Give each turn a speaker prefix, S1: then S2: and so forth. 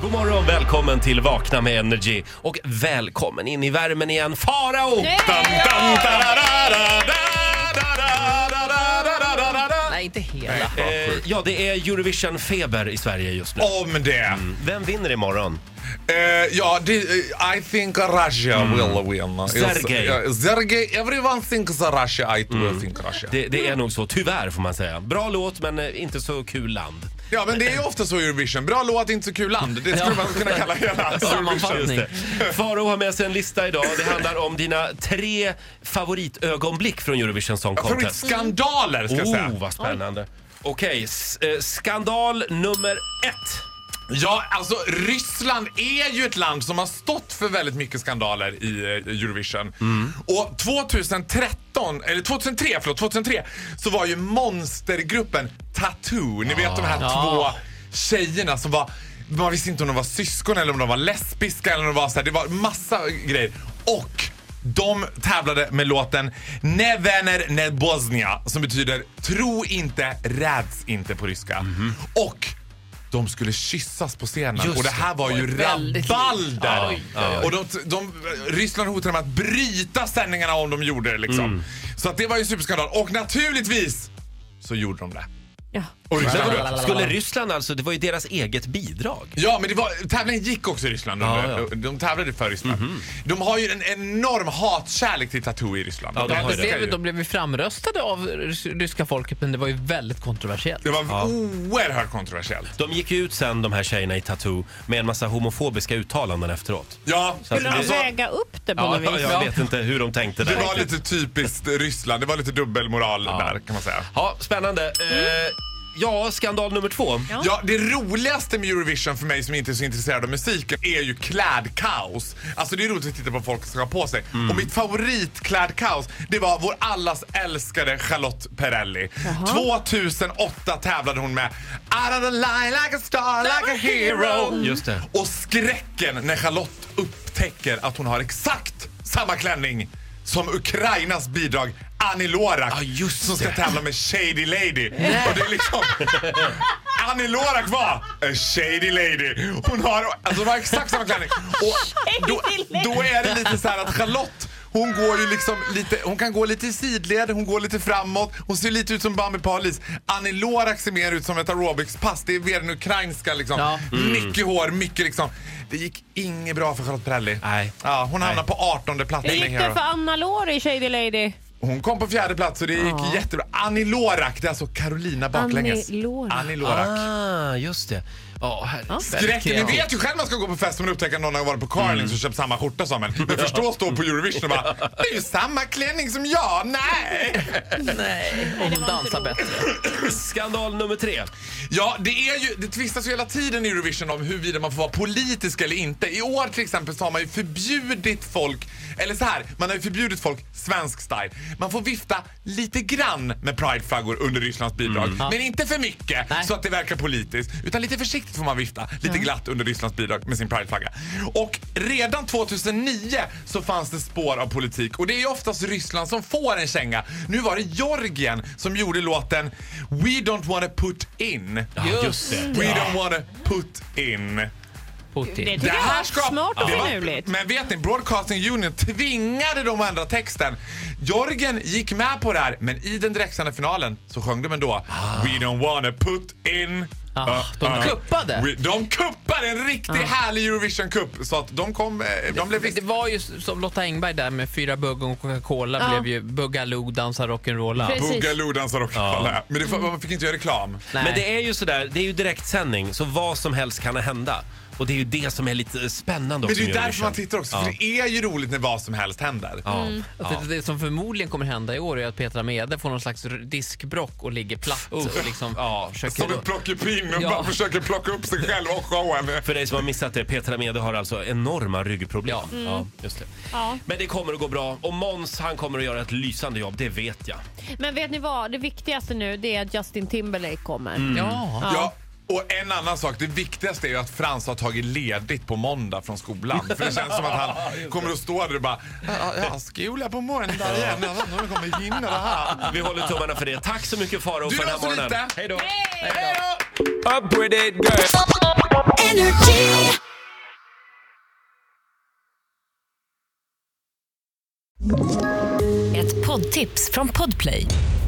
S1: God morgon, välkommen till Vakna med Energy och välkommen in i värmen igen, Farao! Dun, dun, da-da-da-da, da-da-da-da-da-da-da-da.
S2: Nej, inte hela.
S1: Eh, Ja, det är Eurovision-feber i Sverige just nu.
S3: Om det!
S1: Vem vinner imorgon?
S3: Eh, ja, det, eh, I think Russia will win. It's-
S1: Mm. Sergej. Mm.
S3: eh, Sergej, everyone thinks Russia, I too think Russia.
S1: Det, det är nog så, tyvärr får man säga. Bra låt, men eh, inte så kul land.
S3: Ja, men det är ju ofta så i Eurovision. Bra låt, inte så kul land. Det skulle man kunna kalla hela Eurovision.
S2: Sammanfattning.
S1: Faro har med sig en lista idag. Det handlar om dina tre favoritögonblick från Eurovision Song Contest.
S3: Favoritskandaler, ska jag säga.
S1: Oh, vad spännande. Okej, s- eh, skandal nummer ett.
S3: Ja, alltså Ryssland är ju ett land som har stått för väldigt mycket skandaler i eh, Eurovision.
S1: Mm.
S3: Och 2013, eller 2003, förlåt, 2003 så var ju monstergruppen Tattoo, ni vet de
S1: Ah.
S3: här
S2: Ja.
S3: två tjejerna som var man visste inte om de var syskon eller om de var lesbiska eller om de var så här, det var massa grejer. Och de tävlade med låten Ne vener ne Bosnia som betyder tro inte, räds inte på ryska.
S2: Mhm.
S3: Och de skulle kyssas på scenen
S1: Just
S3: och det här var ju
S2: Oj, väldigt-
S3: rabalder.
S2: Oj, oj,
S3: Och de, de, Ryssland hotade med att bryta sändningarna om de gjorde det liksom.
S2: Mm.
S3: Så att det var ju en superskandal och naturligtvis så gjorde de det.
S2: Ja.
S3: Och Ryssland
S2: Lalalala.
S3: bröt.
S1: Skulle Ryssland alltså, det var ju deras eget bidrag.
S3: Ja, men det var, tävlingen gick också i Ryssland.
S1: Ja, Mhm.
S3: under- De tävlade för Ryssland. De har ju en enorm hatkärlek till tattoo i Ryssland.
S1: Ja, de har ju
S2: De
S1: det.
S3: älskar ju.
S2: blev, de blev ju framröstade av rys- ryska folket, men det var ju väldigt kontroversiellt.
S3: det var oerhört kontroversiellt.
S1: De gick ju ut sen, de här tjejerna i Tattoo, med en massa homofobiska uttalanden efteråt.
S3: Ja,
S1: att-
S4: Skulle de
S3: alltså,
S4: väga upp det på
S1: Ja,
S4: något vis?
S1: jag vet inte hur de tänkte
S3: det
S1: där.
S3: var
S1: riktigt.
S3: lite typiskt Ryssland. Det var lite dubbelmoral där kan man säga.
S1: Ja, spännande. Eh, ja, skandal nummer två.
S4: Ja.
S3: Ja, det roligaste med Eurovision för mig som inte är så intresserad av musiken är ju klädkaos. Alltså det är roligt att titta på vad folk ska ha på sig.
S1: Mm.
S3: Och mitt favoritklädkaos, det var vår allas älskade Charlotte Perrelli. 2008 tävlade hon med Out of the line like a star like a hero.
S1: Just det.
S3: Och skräcken när Charlotte upptäcker att hon har exakt samma klänning som Ukrainas bidrag Annie Lorak
S1: Ja, just
S3: som ska
S1: det.
S3: tävla med Shady Lady. Och det är liksom... Annie Lorak var a shady lady. Hon har, alltså, hon har exakt samma klänning. Och då, då är det lite så här att Charlotte hon, går ju liksom lite, hon kan gå lite i sidled, hon går lite framåt. Hon ser lite ut som Bambi Palis. Annie Lorak ser mer ut som ett aerobicspass. Det är mer den ukrainska liksom.
S2: Ja.
S1: Mm.
S3: Mycket hår, mycket liksom. Det gick inget bra för Charlotte Perrelli.
S1: Nej.
S3: Ja, hon hamnade på 18 plats.
S4: Hur
S3: med
S4: gick det
S3: Hero.
S4: för Anna Lori, Shady Lady?
S3: Hon kom på fjärde plats och det gick jättebra. Annie Lorak, det är alltså Carolina baklänges.
S4: Annie Lorak.
S3: Annie Lorak.
S1: Ah, just det. Ja, här-
S3: Skräck. Ni
S2: Verkligen.
S3: vet ju själv man ska gå på fest om man upptäcker att någon har varit på Carling och köpt samma skjorta som en. Men förstå att stå på Eurovision och bara Det är ju samma klänning som jag, nej!
S2: Nej, och hon dansar bättre.
S1: Skandal nummer tre.
S3: Ja, det är ju, det tvistas ju hela tiden i Eurovision om huruvida man får vara politisk eller inte. I år till exempel så har man ju förbjudit folk, eller så här, man har ju förbjudit folk svensk style. Man får vifta lite grann med prideflaggor under Rysslands bidrag. Men inte för mycket
S2: Nej.
S3: så att det verkar politiskt. Utan lite försiktigt får man vifta, lite glatt under Rysslands bidrag med sin prideflagga. Och redan 2009 så fanns det spår av politik och det är ju oftast Ryssland som får en känga. Nu var det Georgien som gjorde låten We don't wanna put in.
S1: Ja,
S2: Just
S1: det.
S3: We don't wanna put in.
S2: Putin.
S4: Det här var smart och
S3: det var-
S4: finurligt.
S3: Men vet ni, Broadcasting Union tvingade dem att ändra texten. Jorgen gick med på det här, men i den direktsända finalen så sjöng de ändå We don't wanna put in.
S2: Ah, de kuppade.
S3: We, de kuppade en riktigt härlig Eurovision-kupp. Så att de kom, eh, de blev
S2: Det
S3: visst...
S2: var ju som Lotta Engberg där med fyra bugg och Coca-Cola
S4: Ja.
S2: blev ju Buggaloo dansar rock'n'rolla.
S4: Precis.
S3: Boogaloo dansar också. Ja. Men det, får- man fick inte göra reklam.
S2: Nej.
S1: Men det är ju sådär, det är ju direktsändning, så vad som helst kan hända. Och det är ju det som är lite spännande
S3: Men
S1: också
S3: det är ju
S1: med
S3: därför
S1: Eurovision.
S3: man tittar också, för det är ju roligt när vad som helst händer.
S1: liksom. Ja.
S2: Alltså, det, det som förmodligen kommer hända i år är att Petra Mede får någon slags r- diskbrock och ligger platt och liksom
S1: Ja,
S2: försöker...
S3: Som en plockepinn och
S2: Ja.
S3: bara försöker plocka upp sig själv och showen.
S1: För dig som har missat det, Petra Mede har alltså enorma ryggproblem. Ja. just det.
S4: Ja.
S1: Men det kommer att gå bra. Och Måns, han kommer att göra ett lysande jobb, det vet jag.
S4: Men vet ni vad? Det viktigaste nu det är att Justin Timberlake kommer.
S2: Ja.
S3: Ja. Och en annan sak, det viktigaste är ju att Frans har tagit ledigt på måndag från skolan. För det känns som att han kommer att stå där och bara "Ja, Jag har skola på måndag igen, jag vet inte om jag kommer hinna det här.
S1: Vi håller tummarna för det. Tack så mycket Faro
S3: Du
S1: för den
S3: är
S1: här
S3: så
S1: morgonen.
S3: lite!
S1: Hej då!
S3: Hej då!
S5: Up with it girl.
S6: Energy.
S7: Ett poddtips från Podplay.